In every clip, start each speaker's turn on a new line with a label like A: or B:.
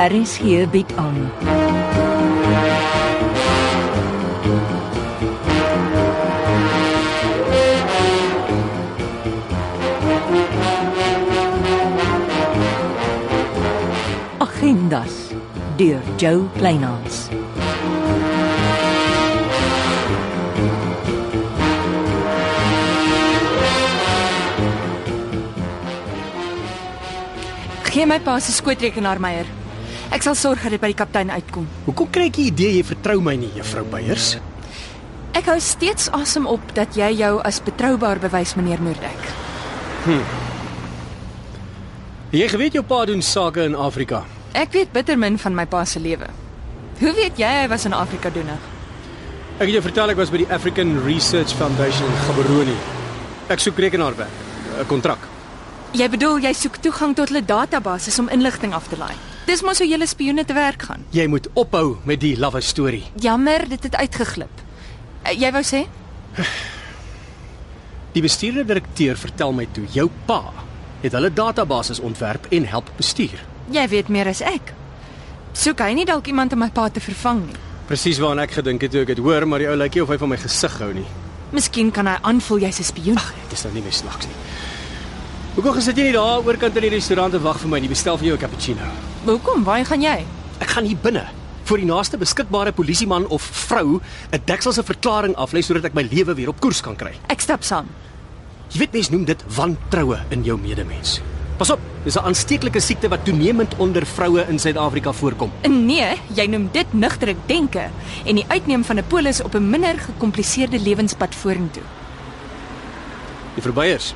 A: Aris hier bied aan. Agendas deur Jo Kleinhans.
B: Gee my pa se skootrekenaar Meyer. Ek sal sorg dat dit by die kaptein uitkom.
C: Hoekom kry ek die idee jy vertrou my nie, juffrou Beyers?
B: Ek hou steeds asem op dat jy jou as betroubaar bewys, meneer Moerdijk.
C: Jy geweet jou pa doen sake in Afrika.
B: Ek weet bitter min van my pa se lewe. Hoe weet jy hy was in Afrika doenig?
C: Ek het jou vertel ek was by die African Research Foundation in Gaborone. Ek soek rekenaarwerk, 'n kontrak.
B: Jy bedoel jy soek toegang tot hulle databases om inligting af te laai. Dis mos hoe julle spioene te werk gaan.
C: Jy moet ophou met die lawwe storie.
B: Jammer, dit het uitgeglip. Eh, Jy wou sê?
C: Die bestuurende direkteur vertel my toe jou pa het hulle databases ontwerp en help bestuur.
B: Jy weet meer as ek. Soek hy nie dalk iemand om my pa te vervang nie?
C: Presies waaraan ek gedink het toe ek dit hoor, maar die ou lyk nie of hy van my gesig hou nie.
B: Miskien kan hy aanvoel jy's 'n spioen.
C: Dit is nou nie my snaaks nie. Hoekom gesit jy nie daar oorkant in die restaurant en wag vir my nie? Bestel vir jou 'n cappuccino.
B: Hoekom? Waarheen gaan jy?
C: Ek gaan hier binne vir die naaste beskikbare polisieman of vrou 'n dekselse verklaring aflê sodat ek my lewe weer op koers kan kry.
B: Ek stap saam.
C: Jy weet mense noem dit wantroue in jou medemens. Pas op, dis 'n aansteeklike siekte wat toenemend onder vroue in Suid-Afrika voorkom.
B: Nee, jy noem dit nugtere denke en die uitneem van 'n polis op 'n minder gekompliseerde lewenspad vorentoe.
C: Die verbyers.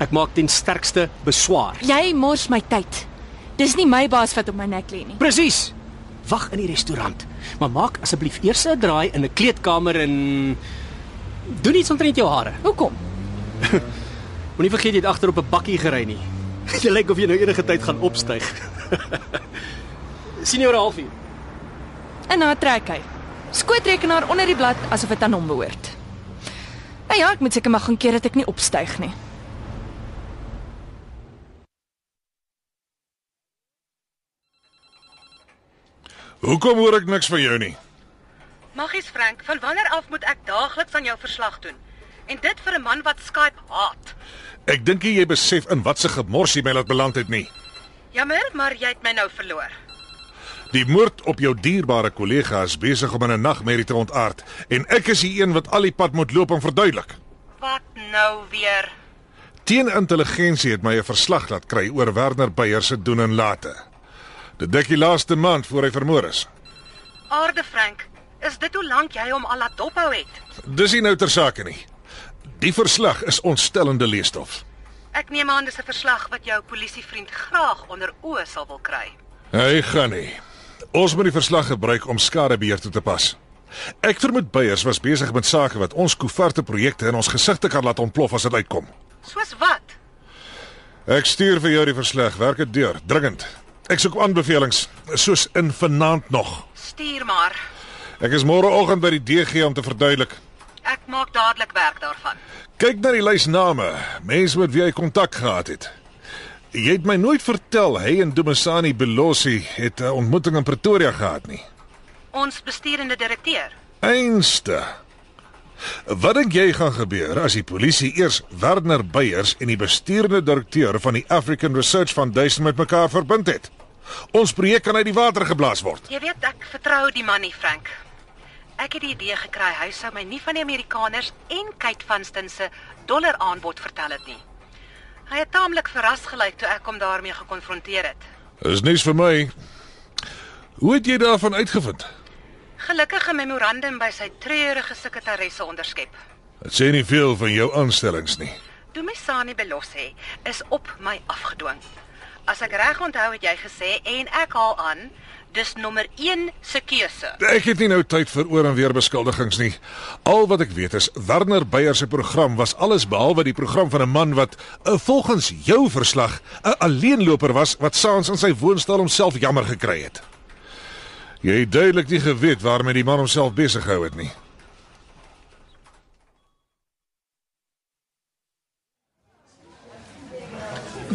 C: Ek maak ten sterkste beswaar.
B: Jy mors my tyd. Dis nie my baas wat op my nek lê nie.
C: Presies. Wag in die restaurant, maar maak asseblief eers 'n draai in 'n kleedkamer en doen iets omtrent jou hare.
B: Hoekom?
C: Moenie vergeet jy het agter op 'n bakkie gery nie. Jy lyk of jy nou enige tyd gaan opstyg. sien jou oor 'n halfuur.
B: En nou trek hy. Skootrekenaar onder die blad asof dit aan hom behoort. Nou ja, ek moet seker maar gaan keer dat ek nie opstyg nie.
D: Hoekom hoor ek niks van jou nie?
E: Maggies Frank, van wanneer af moet ek daagliks aan jou verslag doen? En dit vir 'n man wat Skype haat.
D: Ek dink nie jy besef in watse gemors jy my laat beland het nie.
E: Jammer, maar jy het my nou verloor.
D: Die moord op jou dierbare kollega is besig om in 'n nagmerrie te ontaard en ek is die een wat al die pad moet loop om verduidelik.
E: Wat nou weer?
D: Teen intelligensie het my 'n verslag laat kry oor Werner Beyer se doen en late. Dit dek die laaste maand voor hy vermoor is.
E: Aarde Frank, is dit hoe lank jy hom al laat dophou het?
D: Dis nie nou ter sake nie. Die verslag is ontstellende leesstof.
E: Ek neem aan dis 'n verslag wat jou polisievriend graag onder oë sal wil kry.
D: Hy gaan nie. Ons moet die verslag gebruik om skadebeheer toe te pas. Ek vermoed Beyers was besig met sake wat ons koeverte projekte in ons gesigte kan laat ontplof as dit uitkom.
E: Soos wat?
D: Ek stuur vir jou die verslag, werk dit deur, dringend. Ek soek aanbevelings, soos in vanaand nog.
E: Stuur maar.
D: Ek is môreoggend by die DG om te verduidelik.
E: Ek maak dadelik werk daarvan.
D: Kyk na die lys name, mense met wie hy kontak gehad het. Jy het my nooit vertel hy en Dumisani Belossi het 'n ontmoeting in Pretoria gehad nie.
E: Ons besturende direkteur.
D: Einste. Wat dink jy gaan gebeur as die polisie eers Werner Beyers en die bestuurende direkteur van die African Research Foundation met mekaar verbind het? Ons projek kan uit die water geblaas word.
E: Jy weet ek vertrou die man nie, Frank. Ek het die idee gekry hy sou my nie van die Amerikaners en Kate Vanston se dollar aanbod vertel het nie. Hy het taamlik verras gelyk toe ek hom daarmee gekonfronteer het.
D: Is niks vir my. Hoe het jy daarvan uitgevind?
E: Gelukkige memorandum by sy treurige sekretaresse onderskep.
D: Dit sê nie veel van jou aanstellings nie.
E: Dumisani Belossi is op my afgedwing. As ek reg onthou het jy gesê en ek haal aan, dis nommer 1 se keuse.
D: Ek het nie nou tyd vir oor en weer beskuldigings nie. Al wat ek weet is Werner Beyer se program was alles behalwe die program van 'n man wat eh, volgens jou verslag 'n alleenloper was wat saans in sy woonstel homself jammer gekry het. Jy het duidelik nie geweet waarmee die man homself besig gehou het nie.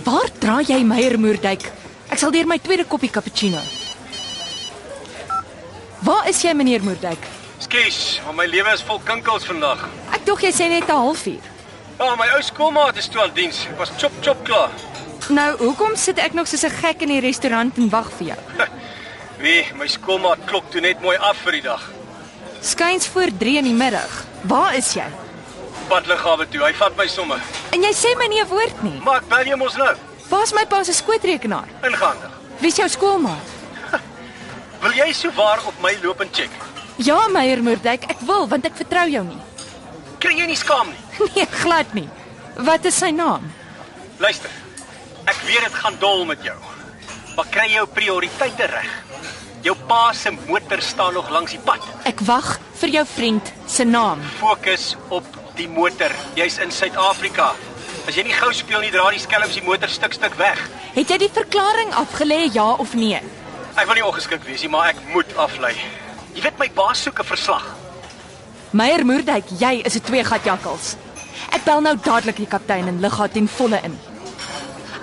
B: Waar dra jy Meyer Moerdijk? Ek sal deur my tweede koppie cappuccino. Waar is jy meneer Moerdijk?
C: Skus, maar my lewe is vol kinkels vandag.
B: Ek dog jy sê net 'n halfuur.
C: Ja, my ou skoolmaat is toe aan diens. Ek was chop chop klaar.
B: Nou, hoekom sit ek nog soos 'n gek in die restaurant en wag vir jou?
C: Wie, my skoolmaat klok toe net mooi af vir die dag.
B: Skuins voor 3 in die middag. Waar is jy?
C: Padliggawe toe. Hy vat my somme.
B: En jy sê my nie 'n woord nie.
C: Maar ek bel jou mos nou.
B: Waar's my pa se skootrekenaar?
C: Ingaande.
B: Wie's jou skoolmaat?
C: Wil jy sou waar op my loop en check?
B: Ja, Meyer Moerdijk, ek wil want ek vertrou jou nie.
C: Kry jy nie skaam nie?
B: Nee, glad nie. Wat is sy naam?
C: Luister. Ek weet dit gaan dol met jou. Maar kry jou prioriteite reg. Jou pa se motor staan nog langs die pad.
B: Ek wag vir jou vriend se naam.
C: Fokus op die motor. Jy's in Suid-Afrika. As jy nie gou speel nie, dra die skelms die motor stuk stuk weg.
B: Het jy die verklaring afgelê ja of nee?
C: Ek wil nie ongeskik wees nie, maar ek moet aflei. Jy weet my baas soek 'n verslag.
B: Meyer Moerdijk, jy is 'n tweegat jakkals. Ek bel nou dadelik die kaptein en lig haar ten volle in.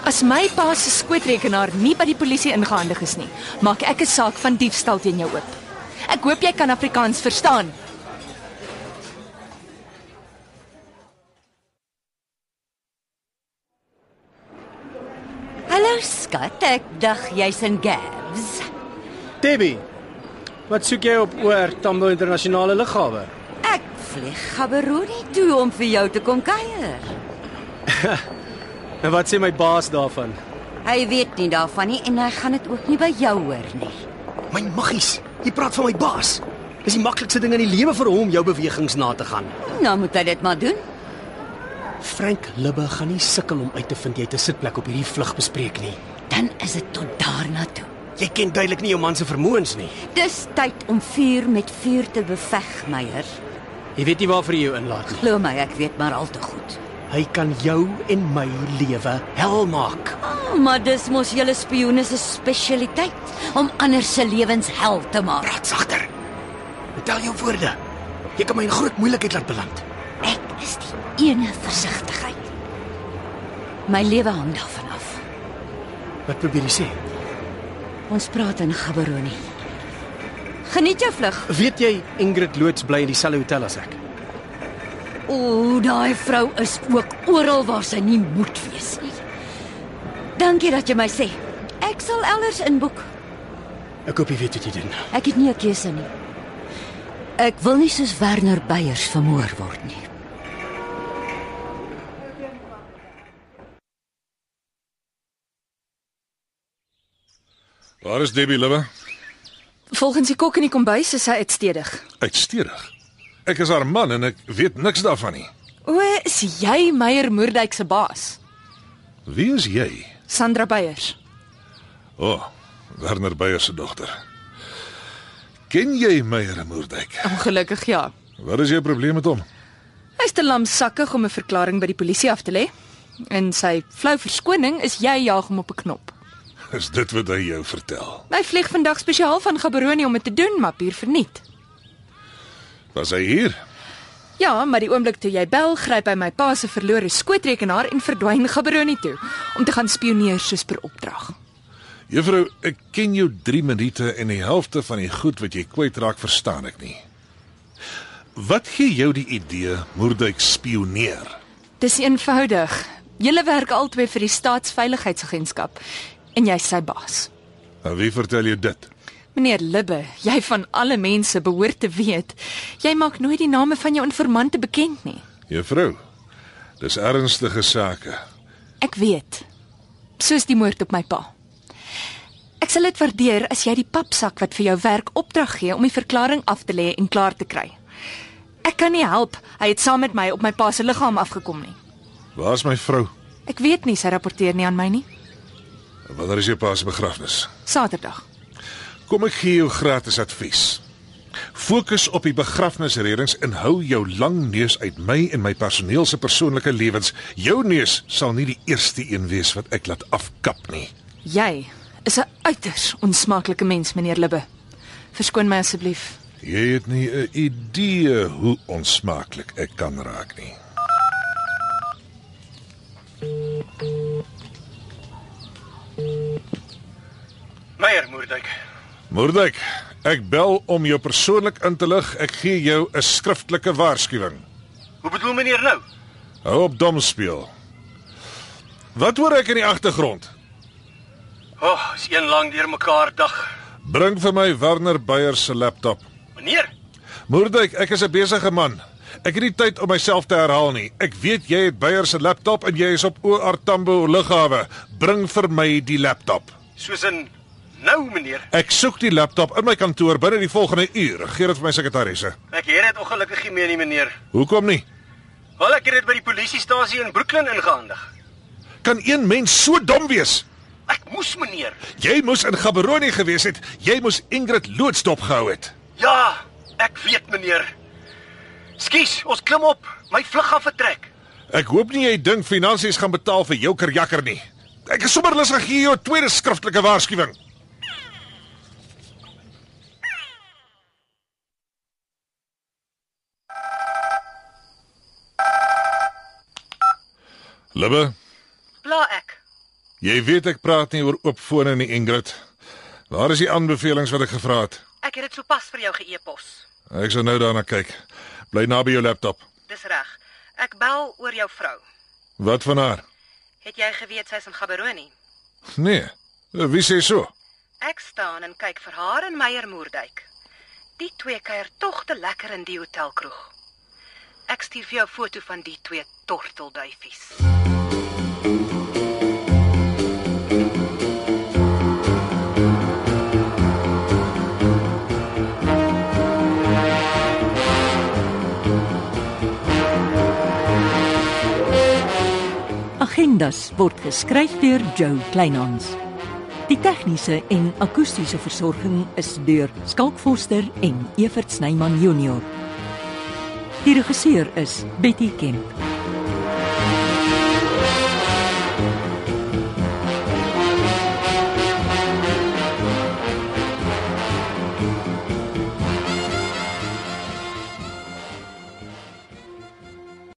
B: As my pa se skootrekenaar nie by die polisie ingehandig is nie, maak ek 'n saak van diefstal teen jou oop. Ek hoop jy kan Afrikaans verstaan.
A: Hallo skat, ek dag jy's in Gabs.
C: Debbie. Wat soek jy op oor Tambo internasionale lughawe?
A: Ek vlieg Gaberoni toe om vir jou te kom kuier.
C: En wat sê my baas daarvan?
A: Hy weet nie daarvan nie en hy gaan dit ook nie by jou hoor nie.
C: My maggies, jy praat van my baas. Dis die maklikste ding in die lewe vir hom jou bewegings na te gaan.
A: Nou moet hy dit maar doen.
C: Frank Libbe gaan nie sukkel om uit te vind jy het 'n sitplek op hierdie vlug bespreek nie.
A: Dan is dit tot daarna toe.
C: Jy ken duidelik nie jou man se vermoëns nie.
A: Dis tyd om vuur met vuur te beveg, Meyer.
C: Jy weet nie waarvoor jy jou inlaat nie.
A: Glo my, ek weet maar al te goed.
C: Hy kan jou en my lewe hel maak.
A: Oh, maar dis mos julle spioene se spesialiteit om ander se lewens hel te maak.
C: Praat sagter. Betel jou woorde. Jy kan my in groot moeilikheid laat beland.
A: Ek is die ene versigtigheid. My lewe hang daarvan af.
C: Wat probeer jy sê?
A: Ons praat in Gaborone. Geniet jou vlug.
C: Weet jy Ingrid Loods bly in dieselfde hotel as ek?
A: O, daai vrou is ook oral waar sy nie moet wees nie. Dankie dat jy my sê. Ek sal elders inboek.
C: Ek hoop jy weet wat jy doen.
A: Ek het nie 'n keuse nie. Ek wil nie soos Werner Beyers vermoor word nie.
D: Waar is Debbie Liewe?
B: Volgens die kok in die kombuis is hy uitstedig.
D: Uitstekend. Ek is haar man en ek weet niks daarvan nie.
B: O, is jy Meyer Moerdijk se baas?
D: Wie is jy?
B: Sandra Beyers.
D: O, oh, Werner Beyer se dogter. Ken jy Meyer Moerdijk?
B: Ongelukkig ja.
D: Wat is jou probleem met hom?
B: Hy's te lamsakkig om 'n verklaring by die polisie af te lê. En sy flou verskoning is jy jaag hom op 'n knop.
D: Is dit wat hy jou vertel?
B: Hy vlieg vandag spesiaal van Gaborone om dit te doen, maar puur verniet.
D: Was hy hier?
B: Ja, maar die oomblik toe jy bel, gryp hy my pa se verlore skootrekenaar en verdwyn Gaborone toe om te gaan spioneer soos per opdrag.
D: Juffrou, ek ken jou 3 minute en die helfte van die goed wat jy kwytraak verstaan ek nie. Wat gee jou die idee Moerdijk spioneer?
B: Dis eenvoudig. Julle werk albei vir die Staatsveiligheidsagentskap en jy's sy baas.
D: En Nou, wie vertel jou dit?
B: Meneer Libbe, jy van alle mense behoort te weet, jy maak nooit die name van jou informante bekend nie.
D: Juffrou, dis ernstige sake.
B: Ek weet. Soos die moord op my pa. Ek sal dit waardeer as jy die papsak wat vir jou werk opdrag gee om die verklaring af te lê en klaar te kry. Ek kan nie help. Hy het saam met my op my pa se liggaam afgekom nie.
D: Waar's my vrou?
B: Ek weet nie sy rapporteer nie aan my nie.
D: Wanneer is jou pa se begrafnis?
B: Saterdag.
D: Kom ek gee jou gratis advies. Fokus op die begrafnisreëlings en hou jou lang neus uit my en my personeel se persoonlike lewens. Jou neus sal nie die eerste een wees wat ek laat afkap nie.
B: Jy is 'n uiters onsmaaklike mens, meneer Libbe. Verskoon my asseblief.
D: Jy het nie 'n idee hoe onsmaaklik ek kan raak nie.
C: Meyer Moerdijk.
D: Moerdijk, Ek bel om jou persoonlik in te lig. Ek gee jou 'n skriftelike waarskuwing.
C: Hoe bedoel meneer nou?
D: Hou op dom speel. Wat hoor ek in die agtergrond?
C: O, oh, is een lang deurmekaar dag.
D: Bring vir my Werner Beyer se laptop.
C: Meneer,
D: Moerdijk, ek is 'n besige man. Ek het nie tyd om myself te herhaal nie. Ek weet jy het Beyer se laptop en jy is op OR Tambo lughawe. Bring vir my die laptop.
C: soos in nou meneer.
D: Ek soek die laptop in my kantoor binne die volgende uur. Gee dit vir my sekretarisse.
C: Ek het dit ongelukkig nie meer nie meneer.
D: Hoekom nie?
C: Wel ek het dit by die polisiestasie in Brooklyn ingehandig.
D: Kan een mens so dom wees?
C: Ek moes meneer.
D: Jy moes in Gaborone gewees het. Jy moes Ingrid loods dopgehou het.
C: Ja, ek weet meneer. Skus, ons klim op. My vlug gaan vertrek.
D: Ek hoop nie jy dink finansies gaan betaal vir jou kerjakker nie. Ek is sommer lus om jou tweede skriftelike waarskuwing. Libbe,
E: Bla ek.
D: jy weet ek praat nie oor oop fone nie, Ingrid. Waar is die aanbevelings wat ek gevra het?
E: Ek het dit sopas vir jou geëpos.
D: Ek sal nou daarna kyk. Bly naby jou laptop.
E: Dis reg. Ek bel oor jou vrou.
D: Wat van haar?
E: Het jy geweet sy's in Gaberoni?
D: Nee. Wie sê so?
E: Ek staan en kyk vir haar en Meyer Moerdijk. Die twee kuier tog te lekker in die hotelkroeg. Ek stuur vir jou 'n foto van die twee tortelduifies.
A: Agendas word geskryf deur Joe Kleinhans. Die tegniese en akoestiese versorging is deur Skalk Forster en Evert Snyman Junior. Die regisseur is Betty Kemp.